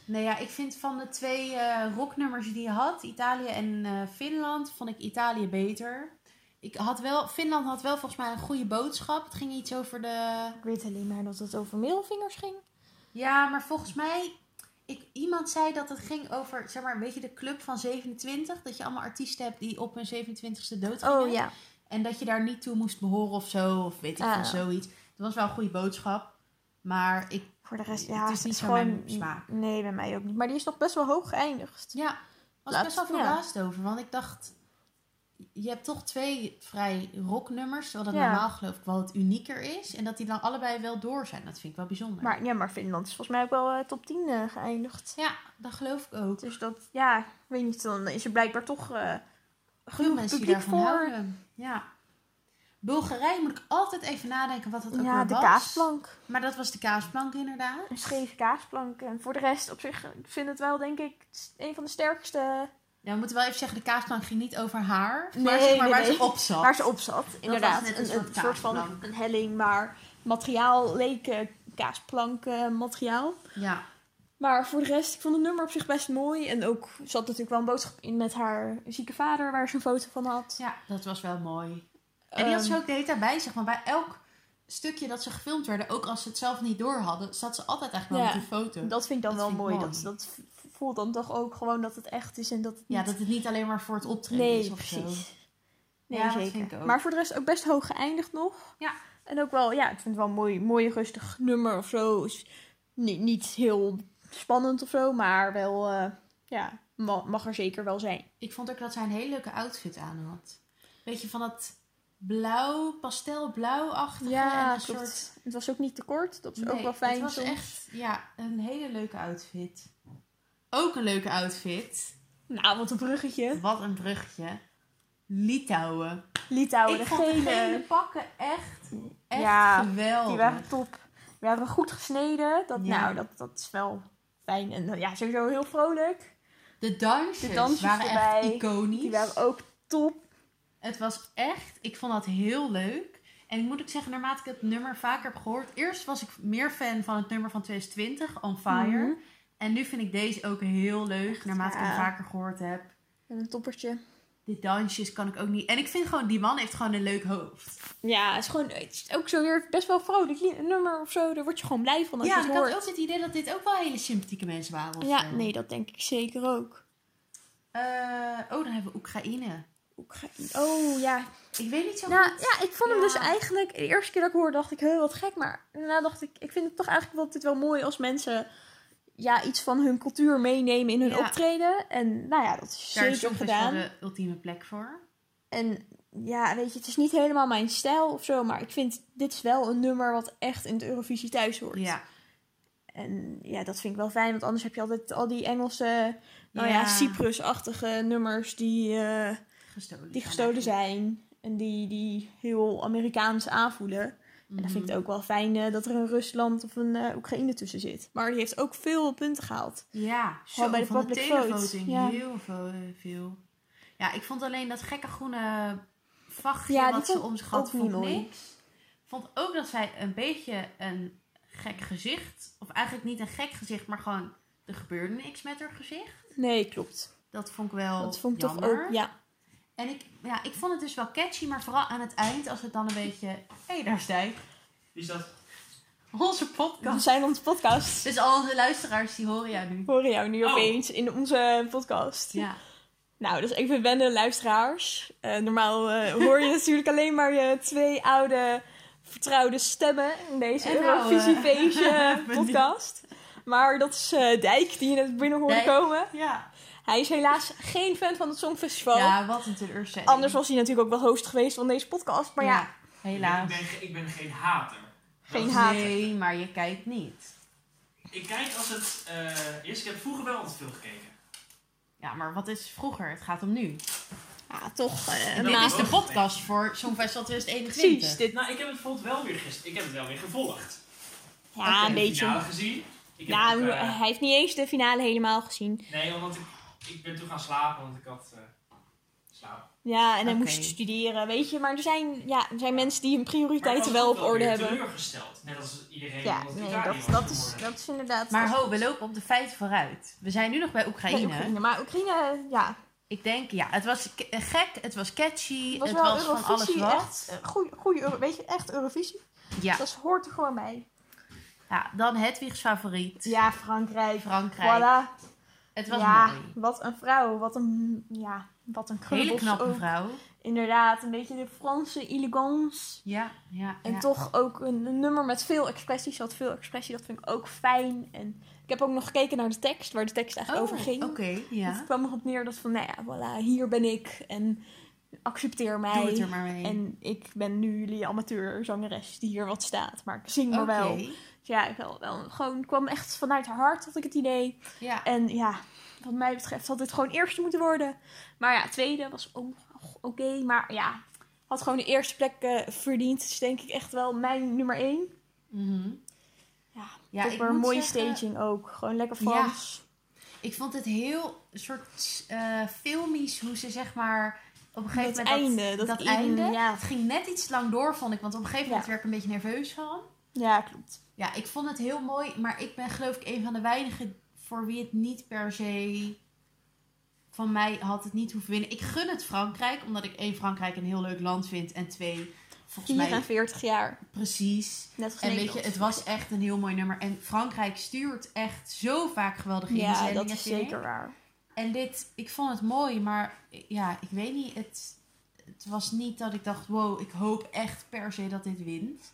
S2: Nee, Nou ja, ik vind van de twee eh, rocknummers die je had, Italië en eh, Finland, vond ik Italië beter. Ik had wel, Finland had wel volgens mij een goede boodschap. Het ging iets over de
S1: Ik weet alleen maar dat het over middelvingers ging.
S2: Ja, maar volgens mij... Ik, iemand zei dat het ging over, zeg maar, weet je, de club van 27. Dat je allemaal artiesten hebt die op hun 27ste dood gingen.
S1: Oh ja.
S2: En dat je daar niet toe moest behoren of zo. Of weet ik
S1: Ah.
S2: veel, zoiets. Het was wel een goede boodschap. Maar ik...
S1: Voor de rest,
S2: Het
S1: ja,
S2: is
S1: het is
S2: niet zo
S1: gewoon...
S2: mijn smaak.
S1: Nee, bij mij ook niet. Maar die is nog best wel hoog geëindigd.
S2: Ja, was
S1: Laat-
S2: best wel
S1: ja.
S2: verbaasd over. Want ik dacht... Je hebt toch twee vrij rocknummers. Terwijl dat
S1: Ja.
S2: normaal geloof ik wel het unieker is. En dat die dan allebei wel door zijn. Dat vind ik wel bijzonder.
S1: Maar, ja, maar Finland is volgens mij ook wel eh, top 10 eh, geëindigd.
S2: Ja, dat geloof ik ook.
S1: Dus dat, ja, ik weet niet, dan is er blijkbaar toch eh
S2: Veel
S1: genoeg
S2: mensen die
S1: publiek
S2: daarvan
S1: voor.
S2: houden. Ja. Bulgarije moet ik altijd even nadenken wat dat ook
S1: Ja,
S2: weer
S1: de
S2: was.
S1: kaasplank.
S2: Maar dat was de kaasplank inderdaad.
S1: Een scheve kaasplank. En voor de rest, op zich, ik vind het wel, denk ik, een van de sterkste
S2: Ja, we moeten wel even zeggen, de kaasplank ging niet over haar.
S1: Nee,
S2: maar zeg maar
S1: nee,
S2: waar
S1: nee.
S2: ze op zat.
S1: waar ze op zat. Inderdaad,
S2: was net
S1: een,
S2: een
S1: een
S2: soort
S1: soort, van
S2: kaasplank.
S1: een helling, maar materiaal leek eh, kaasplank eh, materiaal.
S2: Ja.
S1: Maar voor de rest, ik vond het nummer op zich best mooi. En ook zat natuurlijk wel een boodschap in met haar zieke vader, waar ze een foto van had.
S2: ja, dat was wel mooi. En die had ze
S1: Ehm,
S2: ook de hele tijd bij zich. Maar bij elk stukje dat ze gefilmd werden, ook als ze het zelf niet door hadden, zat ze altijd eigenlijk wel
S1: Ja,
S2: met een foto.
S1: Dat vind ik dan
S2: dat
S1: wel
S2: vind ik
S1: mooi.
S2: mooi.
S1: Dat, dat v- voelt dan toch ook gewoon dat het echt is en dat het
S2: Ja,
S1: niet-
S2: dat het niet alleen maar voor het optreden
S1: nee,
S2: is of zo.
S1: precies. Nee,
S2: Ja, dat
S1: zeker.
S2: vind ik ook.
S1: Maar voor de rest ook best hoog geëindigd nog.
S2: Ja.
S1: En ook wel, ja, ik vind het wel een mooi, mooi rustig nummer of zo. Is niet, niet heel spannend of zo, maar wel, eh, ja, ma- mag er zeker wel zijn.
S2: Ik vond ook dat zij een hele leuke outfit aan had. Weet je, van dat blauw, pastelblauw-achtige. en een
S1: klopt.
S2: soort
S1: Het was ook niet te kort, dat is ook
S2: Nee,
S1: wel fijn
S2: Het was
S1: soms.
S2: echt ja, een hele leuke outfit. Ook een leuke outfit.
S1: Nou, wat een bruggetje.
S2: Wat een bruggetje. Litouwen.
S1: Litouwen,
S2: ik
S1: de
S2: vond de gele
S1: gele. Oh.
S2: pakken echt, echt
S1: Ja,
S2: geweldig.
S1: Die waren top. Die waren goed gesneden. Dat,
S2: Ja.
S1: Nou, dat, dat is wel fijn. En eh, ja, sowieso heel vrolijk.
S2: De dansjes,
S1: De dansjes
S2: waren
S1: erbij,
S2: echt iconisch.
S1: Die waren ook top.
S2: Het was echt, ik vond dat heel leuk. En ik moet ook zeggen, naarmate ik het nummer vaker heb gehoord... Eerst was ik meer fan van het nummer van 2020, On Fire.
S1: Mhm.
S2: En nu vind ik deze ook heel leuk, naarmate ik
S1: ja.
S2: hem vaker gehoord heb.
S1: En een toppertje.
S2: De dansjes kan ik ook niet... En ik vind gewoon, die man heeft gewoon een leuk hoofd.
S1: Ja, het is gewoon het is ook zo weer best wel vrolijk li- nummer of zo. Daar word je gewoon blij van als
S2: ja,
S1: je
S2: ik
S1: het
S2: had
S1: hoort.
S2: ook het idee dat dit ook wel hele sympathieke mensen waren. of
S1: Ja,
S2: zo.
S1: nee, dat denk ik zeker ook.
S2: Eh, oh, dan hebben we Oekraïne.
S1: Oekraïne. Oh ja.
S2: Ik weet niet zo
S1: Nou
S2: goed.
S1: ja, ik vond hem
S2: Ja.
S1: dus eigenlijk. De eerste keer dat ik hoorde, dacht ik heel wat gek. Maar daarna dacht ik, ik vind het toch eigenlijk wel, dit wel mooi als mensen ja, iets van hun cultuur meenemen in hun
S2: Ja.
S1: optreden. En nou ja, dat is
S2: Daar is
S1: zeker
S2: Songfest
S1: gedaan.
S2: wel de ultieme plek voor.
S1: En ja, weet je, het is niet helemaal mijn stijl of zo. Maar ik vind dit is wel een nummer wat echt in de Eurovisie thuis hoort.
S2: Ja.
S1: En ja, dat vind ik wel fijn, want anders heb je altijd al die Engelse, nou ja,
S2: Ja.
S1: Cyprus-achtige nummers die, eh,
S2: Gestolen.
S1: die gestolen zijn. En die, die heel Amerikaans aanvoelen. En dan vind
S2: Mhm.
S1: ik het ook wel fijn eh, dat er een Rusland of een eh, Oekraïne tussen zit. Maar die heeft ook veel punten gehaald.
S2: Ja, zo,
S1: Gewoon bij de
S2: van de
S1: public
S2: televoting.
S1: vote, ja.
S2: Heel veel, eh, veel. Ja, ik vond alleen dat gekke groene vachtje
S1: Ja, die
S2: wat ze
S1: vond
S2: om zich had,
S1: ook niet
S2: vond
S1: mooi.
S2: niks. Vond ook dat zij een beetje een gek gezicht, of eigenlijk niet een gek gezicht, maar gewoon er gebeurde niks met haar gezicht.
S1: Nee, klopt.
S2: Dat vond ik wel
S1: dat vond ik
S2: Oh, jammer.
S1: toch ook, ja.
S2: En ik, ja, ik vond het dus wel catchy, maar vooral aan het eind, als het dan een beetje... Hé, hey, daar is hij.
S3: Wie is dat?
S2: Onze podcast.
S1: We zijn onze podcast.
S2: Dus al onze luisteraars, die horen jou nu.
S1: We horen jou nu
S3: Oh.
S1: opeens in onze podcast.
S2: Ja.
S1: Nou, dus even wennen, luisteraars. Eh, normaal eh, hoor je natuurlijk alleen maar je twee oude vertrouwde stemmen in deze
S2: En nou,
S1: Eurovisie
S2: eh,
S1: Feestje
S2: ben ik.
S1: podcast. Maar dat is eh, Dijk, die je net binnen hoorde
S2: Dijk.
S1: komen.
S2: Ja.
S1: Hij is helaas geen fan van het Songfestival.
S2: ja, wat een teleurstelling.
S1: Anders was hij natuurlijk ook wel host geweest van deze podcast. Maar ja,
S2: Helaas.
S3: Ik ben, ge- ik ben geen hater.
S1: Geen
S3: Dat-
S1: hater.
S2: Nee, maar je kijkt niet.
S3: Ik kijk als het... eh eerst, ik heb vroeger wel altijd veel gekeken.
S2: Ja, maar wat is vroeger? Het gaat om nu.
S1: ja, toch. eh,
S3: En
S2: Ah, Dit
S3: Nou,
S1: na-
S2: is de
S3: ook.
S2: podcast voor Songfestival 2021.
S1: precies. Dit,
S3: Nou, ik heb het bijvoorbeeld wel weer gisteren... Ik heb het wel weer gevolgd.
S1: ja,
S2: Oké.
S1: een
S3: Ik heb de
S1: beetje.
S3: finale gezien. Ik heb
S1: Nou,
S3: ook, eh,
S1: hij heeft niet eens de finale helemaal gezien.
S3: nee, omdat ik... Ik ben toen gaan slapen, want ik had... eh slaap.
S1: Ja, en hij
S2: Oké.
S1: moest studeren, weet je. Maar er zijn, ja, er zijn mensen die hun
S3: Maar ik was
S1: prioriteiten wel
S3: ook
S1: op orde
S3: weer
S1: hebben.
S3: teleurgesteld. Net als iedereen.
S1: Ja,
S3: omdat
S1: nee,
S3: Italië
S1: dat,
S3: was
S1: dat, is,
S3: geworden.
S1: dat is inderdaad.
S2: Maar
S1: dat-
S2: ho, we lopen op de feiten vooruit. We zijn nu nog bij
S1: Nee,
S2: Oekraïne.
S1: Oekraïne. Maar Oekraïne, ja.
S2: Ik denk, ja, het was k- gek, het was catchy,
S1: Het was
S2: het was,
S1: wel
S2: van alles
S1: Eurovisie,
S2: wat.
S1: echt eh, goeie, goeie, Euro- weet je, echt Eurovisie.
S2: Ja.
S1: Dat hoort er gewoon bij.
S2: ja, dan Hedwigs favoriet,
S1: Ja, Frankrijk.
S2: Frankrijk.
S1: Voilà.
S2: Het was
S1: ja,
S2: mooi.
S1: wat een vrouw. Wat een, ja, wat een
S2: Hele
S1: krullebos
S2: knappe
S1: ook.
S2: vrouw.
S1: Inderdaad, een beetje de Franse elegance.
S2: Ja, ja.
S1: En
S2: ja.
S1: toch ook een, een nummer met veel expressie. Ze had veel expressie, dat vind ik ook fijn. En ik heb ook nog gekeken naar de tekst, waar de tekst echt
S2: Oh,
S1: over ging.
S2: Oké,
S1: Het
S2: ja.
S1: kwam erop neer dat van, nou ja, voilà, hier ben ik. En accepteer mij.
S2: Doe het er maar mee.
S1: En ik ben nu jullie amateurzangeres die hier wat staat. Maar ik zing
S2: Oké.
S1: maar wel. Dus ja, ik wel, wel, gewoon het kwam echt vanuit haar hart, had ik het idee.
S2: Ja.
S1: En ja, wat mij betreft had dit gewoon eerste moeten worden. Maar ja, tweede was ook oké. maar ja, had gewoon de eerste plek eh, verdiend. Dus denk ik echt wel mijn nummer één.
S2: Mhm.
S1: Ja,
S2: ja
S1: Toch weer een
S2: moet
S1: mooie
S2: zeggen,
S1: staging ook. Gewoon lekker
S2: Ja.
S1: Frans.
S2: Ik vond het heel soort eh filmisch hoe ze zeg maar op een
S1: Dat
S2: gegeven moment
S1: einde, dat
S2: dat,
S1: iedereen-
S2: einde.
S1: ja.
S2: Het ging net iets lang door vond ik, want op een gegeven moment
S1: Ja.
S2: werd ik een beetje nerveus van.
S1: Ja, klopt.
S2: Ja, ik vond het heel mooi, maar ik ben geloof ik een van de weinigen voor wie het niet per se van mij had het niet hoeven winnen. Ik gun het Frankrijk, omdat ik één Frankrijk een heel leuk land vind en twee volgens mij
S1: 44 jaar.
S2: precies.
S1: Net als
S2: En weet
S1: Nederland.
S2: je, het was echt een heel mooi nummer. En Frankrijk stuurt echt zo vaak geweldige
S1: Ja,
S2: inzendingen.
S1: dat is
S2: vind ik.
S1: zeker waar.
S2: En dit, ik vond het mooi, maar ja, ik weet niet. Het, het was niet dat ik dacht, wow, ik hoop echt per se dat dit wint.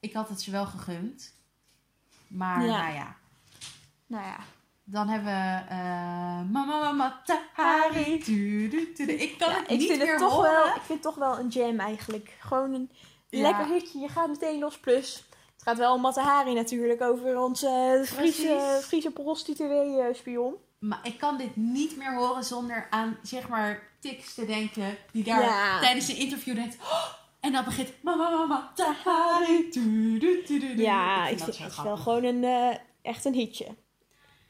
S2: Ik had het ze wel gegund. Maar
S1: Ja.
S2: nou ja,
S1: Nou ja.
S2: dan hebben we eh, Mama Mama Tahari. Du, du, du, du. Ik kan
S1: Ja,
S2: het
S1: ik
S2: niet
S1: vind
S2: meer
S1: het toch
S2: horen.
S1: wel, ik vind het toch wel een jam eigenlijk. Gewoon een
S2: Ja.
S1: lekker hitje. Je gaat meteen los. Plus, het gaat wel om Matahari natuurlijk over onze eh, Friese,
S2: Precies.
S1: Friese prostituee-spion.
S2: Maar ik kan dit niet meer horen zonder aan, zeg maar, tics te denken. Die daar
S1: Ja.
S2: tijdens een interview denkt... "Oh," en dan begint... Mama, mama, tahari, du, du, du, du, du."
S1: Ja, ik
S2: vind
S1: vind
S2: zo
S1: het is wel
S2: grappig.
S1: gewoon een, eh, echt een hitje.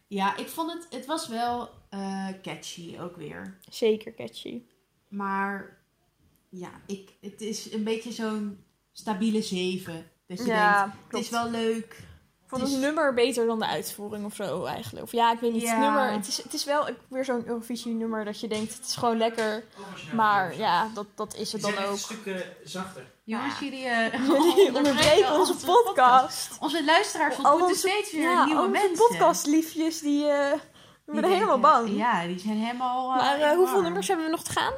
S2: Ja, ik vond het... Het was wel eh, catchy ook weer.
S1: Zeker catchy.
S2: Maar ja, ik, het is een beetje zo'n stabiele zeven. Dat je denkt, het is wel leuk.
S1: Ik vond
S2: het
S1: het,
S2: is-
S1: nummer beter dan de uitvoering of zo eigenlijk. Of ja, ik weet niet. Het,
S2: Ja.
S1: nummer, het, is, het is wel ook weer zo'n Eurovisie nummer dat je denkt, het is gewoon lekker.
S3: Ook als je daar
S1: Maar
S3: van
S1: ja, dat, dat is
S3: houdt. Die
S1: het
S3: zijn
S1: dan ook.
S3: echt een stuk eh, zachter.
S2: Jongens,
S1: Ja.
S2: jullie eh,
S1: Jullie
S2: onderbreken
S1: onderbreken onze
S2: onze
S1: podcast.
S2: Onze luisteraars
S1: Al
S2: ontmoeten
S1: onze-
S2: steeds weer
S1: Ja,
S2: nieuwe
S1: al onze
S2: mensen.
S1: podcastliefjes, die eh,
S2: Die
S1: we worden helemaal
S2: denken-
S1: bang.
S2: Ja, die zijn helemaal... eh,
S1: Maar
S2: in
S1: eh,
S2: de
S1: hoeveel
S2: war.
S1: nummers hebben we nog te gaan?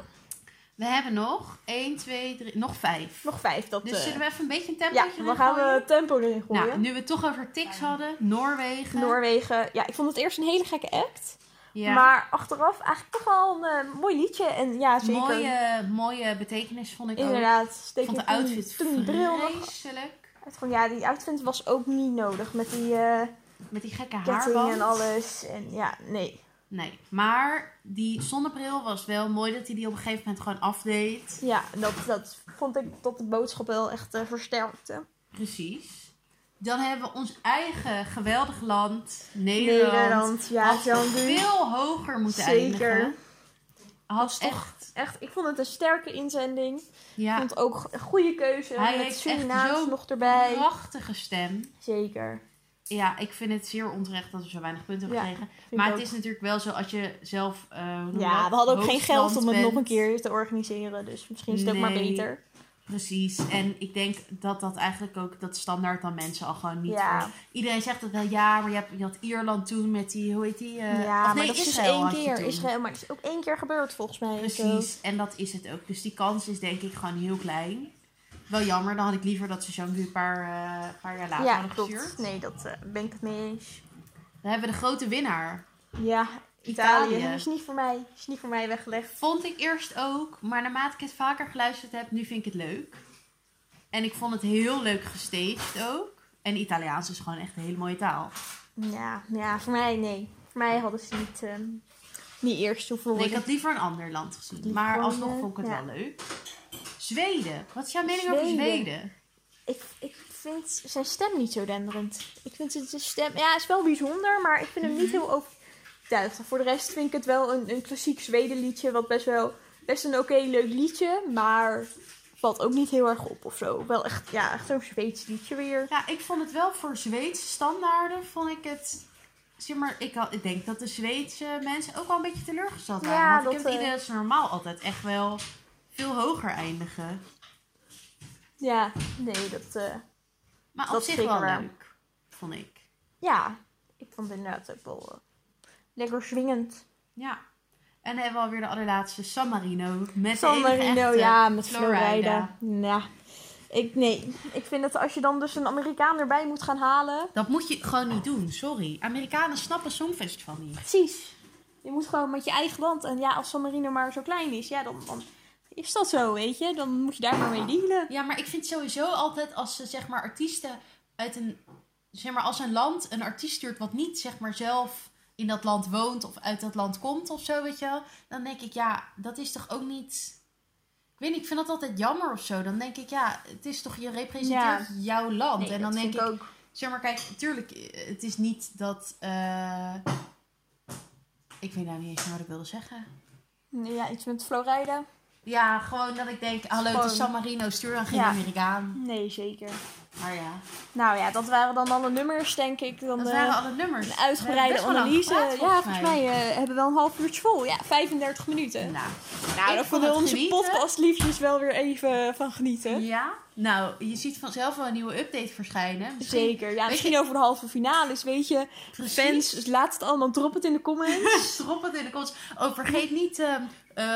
S2: We hebben nog 1, 2, 3, nog 5.
S1: Nog vijf. Dat,
S2: dus
S1: eh,
S2: zullen we even een beetje een tempo
S1: ja, dan gaan we tempo erin gooien.
S2: Nou, nu we het toch over tics hadden, Noorwegen.
S1: Noorwegen. Ja, ik vond het eerst een hele gekke act.
S2: ja.
S1: Maar achteraf eigenlijk toch wel een eh, mooi liedje. En ja, zeker.
S2: mooie, mooie betekenis vond ik ook.
S1: Inderdaad.
S2: Ik
S1: Steek
S2: vond de
S1: ik toen-
S2: outfit
S1: toen die bril nog
S2: vreselijk.
S1: uit. Gewoon, ja, die outfit was ook niet nodig. Met die eh
S2: Met die gekke
S1: ketting
S2: haarband.
S1: en alles. En ja, nee.
S2: Nee, maar die zonnebril was wel mooi dat hij die op een gegeven moment gewoon afdeed.
S1: Ja, dat, dat vond ik dat de boodschap wel echt eh, versterkte.
S2: Precies. Dan hebben we ons eigen geweldig land, Nederland.
S1: Nederland, ja,
S2: had
S1: zo'n doei.
S2: veel hoger moeten
S1: Zeker.
S2: eindigen. Had
S1: is toch-
S2: echt,
S1: Echt, ik vond het een sterke inzending.
S2: ja,
S1: Ik vond ook go- een goede keuze.
S2: Hij
S1: met
S2: heeft echt
S1: Surinaams
S2: zo'n
S1: nog erbij.
S2: prachtige stem.
S1: Zeker.
S2: Ja, ik vind het zeer onterecht dat we zo weinig punten hebben
S1: Ja,
S2: gekregen.
S1: Vind
S2: Maar
S1: ik
S2: het
S1: ook.
S2: is natuurlijk wel zo als je zelf. eh, hoe noem je
S1: Ja,
S2: dat?
S1: we hadden ook geen geld om het
S2: Hoofdland
S1: nog een
S2: bent.
S1: keer te organiseren. Dus misschien is het ook maar
S2: Nee.
S1: beter.
S2: Precies. En ik denk dat dat eigenlijk ook dat standaard dan mensen al gewoon niet.
S1: Ja.
S2: voor- Iedereen zegt dat wel ja, maar je, hebt, je had Ierland toen met die, hoe heet die? eh,
S1: ja,
S2: of
S1: maar
S2: nee,
S1: dat is dus
S2: Israël
S1: één
S2: had je
S1: keer.
S2: toen.
S1: Israël, maar dat is ook één keer gebeurd volgens mij. en zo.
S2: Precies. En dat is het ook. Dus die kans is denk ik gewoon heel klein. Wel jammer, dan had ik liever dat ze Jean-Gu een paar, eh, een paar jaar later
S1: Ja,
S2: hadden
S1: klopt.
S2: gestuurd.
S1: Nee, dat eh, ben ik het mee eens.
S2: Dan hebben we de grote winnaar.
S1: Ja, Italië.
S2: Italië.
S1: Is niet voor mij. Is niet voor mij weggelegd.
S2: Vond ik eerst ook, maar naarmate ik het vaker geluisterd heb, nu vind ik het leuk. En ik vond het heel leuk gestaged ook. En Italiaans is gewoon echt een hele mooie taal.
S1: Ja, ja, voor mij nee. Voor mij hadden ze niet, ehm niet eerst hoeven
S2: Nee,
S1: worden.
S2: ik had liever een ander land gezien.
S1: Liever
S2: Maar
S1: een,
S2: alsnog
S1: eh,
S2: vond ik het
S1: ja.
S2: wel leuk. Zweden. Wat is jouw mening over
S1: Zweden.
S2: Zweden?
S1: ik, ik vind zijn stem niet zo denderend. Ik vind het zijn stem... Ja, het is wel bijzonder, maar ik vind hem
S2: Mhm.
S1: niet heel overtuigend. Voor de rest vind ik het wel een, een klassiek Zweden liedje. Wat best wel... Best een oké, leuk liedje. Maar valt ook niet heel erg op of zo. Wel echt, ja, echt zo'n Zweeds liedje weer.
S2: Ja, ik vond het wel voor Zweedse standaarden. Vond ik het. Zeg maar, ik, had, ik denk dat de Zweedse mensen ook wel een beetje teleurgesteld waren.
S1: Ja,
S2: want
S1: dat,
S2: ik heb het
S1: eh,
S2: idee dat ze normaal altijd echt wel veel hoger eindigen.
S1: Ja, nee, dat... eh,
S2: Maar op
S1: Dat
S2: zich
S1: zeker
S2: wel
S1: waar.
S2: leuk, vond ik.
S1: ja, ik vond het inderdaad ook wel eh, lekker swingend.
S2: Ja. En dan hebben we alweer de allerlaatste, San Marino. Met
S1: San
S2: de enige
S1: Marino,
S2: echte
S1: ja, met
S2: Florida.
S1: Florida. Ja. Ik, nee, ik vind dat als je dan dus een Amerikaan erbij moet gaan halen...
S2: Dat moet je gewoon niet doen, sorry. Amerikanen snappen Songfestival niet.
S1: Precies. Je moet gewoon met je eigen land. En ja, als San Marino maar zo klein is, ja, dan, dan is dat zo, weet je. Dan moet je daar maar mee dealen.
S2: Ja, maar ik vind sowieso altijd als ze zeg maar artiesten uit een. Zeg maar als een land een artiest stuurt wat niet zeg maar zelf in dat land woont of uit dat land komt of zo, weet je wel. Dan denk ik, ja, dat is toch ook niet. Ik weet niet, ik vind dat altijd jammer of zo. Dan denk ik, ja, het is toch, je representeert jouw land. en dan denk ik,
S1: ook...
S2: zeg maar, kijk, tuurlijk, eh, het is niet dat. eh, Ik weet nou niet eens meer wat ik wilde zeggen.
S1: Ja, iets met Florida.
S2: Ja, gewoon dat ik denk, hallo, het is
S1: Gewoon-
S2: San Marino, stuur dan geen
S1: Ja.
S2: Amerikaan.
S1: Nee, zeker.
S2: Maar ja.
S1: Nou ja, dat waren dan alle nummers, denk ik. Dan,
S2: Dat
S1: eh,
S2: waren alle nummers.
S1: een uitgebreide
S2: We hebben best
S1: analyse.
S2: wel lang
S1: ja,
S2: gepraat,
S1: volgens mij eh, hebben we wel een half uurtje vol. Ja, 35 minuten.
S2: Nou,
S1: nou,
S2: ik
S1: daar
S2: vond
S1: konden
S2: het
S1: onze
S2: genieten.
S1: podcastliefjes wel weer even eh, van genieten.
S2: ja. Nou, je ziet vanzelf wel een nieuwe update verschijnen. Misschien-
S1: Zeker. Ja,
S2: je-
S1: misschien over de halve finales, weet je.
S2: Precies.
S1: Fans, dus laat het allemaal, drop het in de comments.
S2: Drop het in de comments. Oh, vergeet niet eh,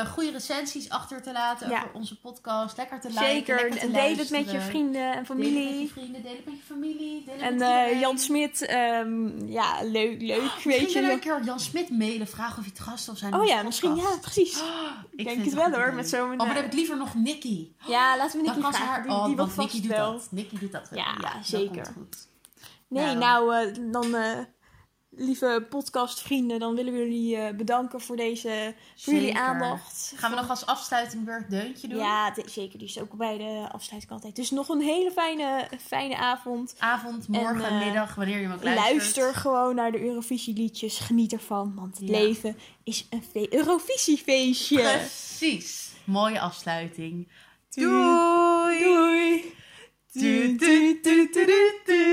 S2: eh, goede recensies achter te laten
S1: Ja.
S2: over onze podcast. Lekker te liken,
S1: Zeker.
S2: lekker te
S1: En deel het met je
S2: luisteren.
S1: vrienden en
S2: Deel het met je
S1: familie.
S2: vrienden, deel het met je familie. Deel het
S1: En
S2: met
S1: eh,
S2: iedereen. Oh,
S1: Jan Smit, ehm, ja, leuk, leuk,
S2: Misschien
S1: weet je.
S2: kunnen we een keer Jan Smit mailen, vragen of hij te gast wil zijn. in
S1: Oh
S2: onze
S1: ja, misschien,
S2: podcast.
S1: ja, precies.
S2: Oh, ik
S1: Ik denk
S2: vind
S1: het
S2: een
S1: wel
S2: goed
S1: hoor,
S2: idee.
S1: met zo'n...
S2: Oh, maar dan
S1: eh,
S2: heb ik liever nog Nicky.
S1: Ja, laten we Nicky
S2: dan kan ze
S1: vragen.
S2: haar.
S1: Die,
S2: oh,
S1: die
S2: want
S1: wordt
S2: Nicky
S1: vast
S2: doet
S1: wel.
S2: dat. Nicky doet dat wel.
S1: Ja,
S2: dat
S1: zeker.
S2: komt goed.
S1: Nee,
S2: Nou.
S1: nou, eh, dan eh, lieve podcastvrienden, dan willen we jullie eh, bedanken voor, deze, voor jullie
S2: Zeker.
S1: aandacht.
S2: Gaan we nog als afsluiting Burg Deuntje doen?
S1: Ja, de- zeker. Die is ook bij de afsluiting altijd. Dus nog een hele fijne, fijne avond.
S2: Avond, morgen,
S1: En, eh,
S2: middag, wanneer je hem ook luistert.
S1: Luister gewoon naar de Eurovisieliedjes. Geniet ervan, want het
S2: Ja.
S1: leven is een fe- Eurovisiefeestje.
S2: Precies. Mooie afsluiting.
S1: Doei. Doei.
S2: Doei. Doei, doei, doei, doei, doei.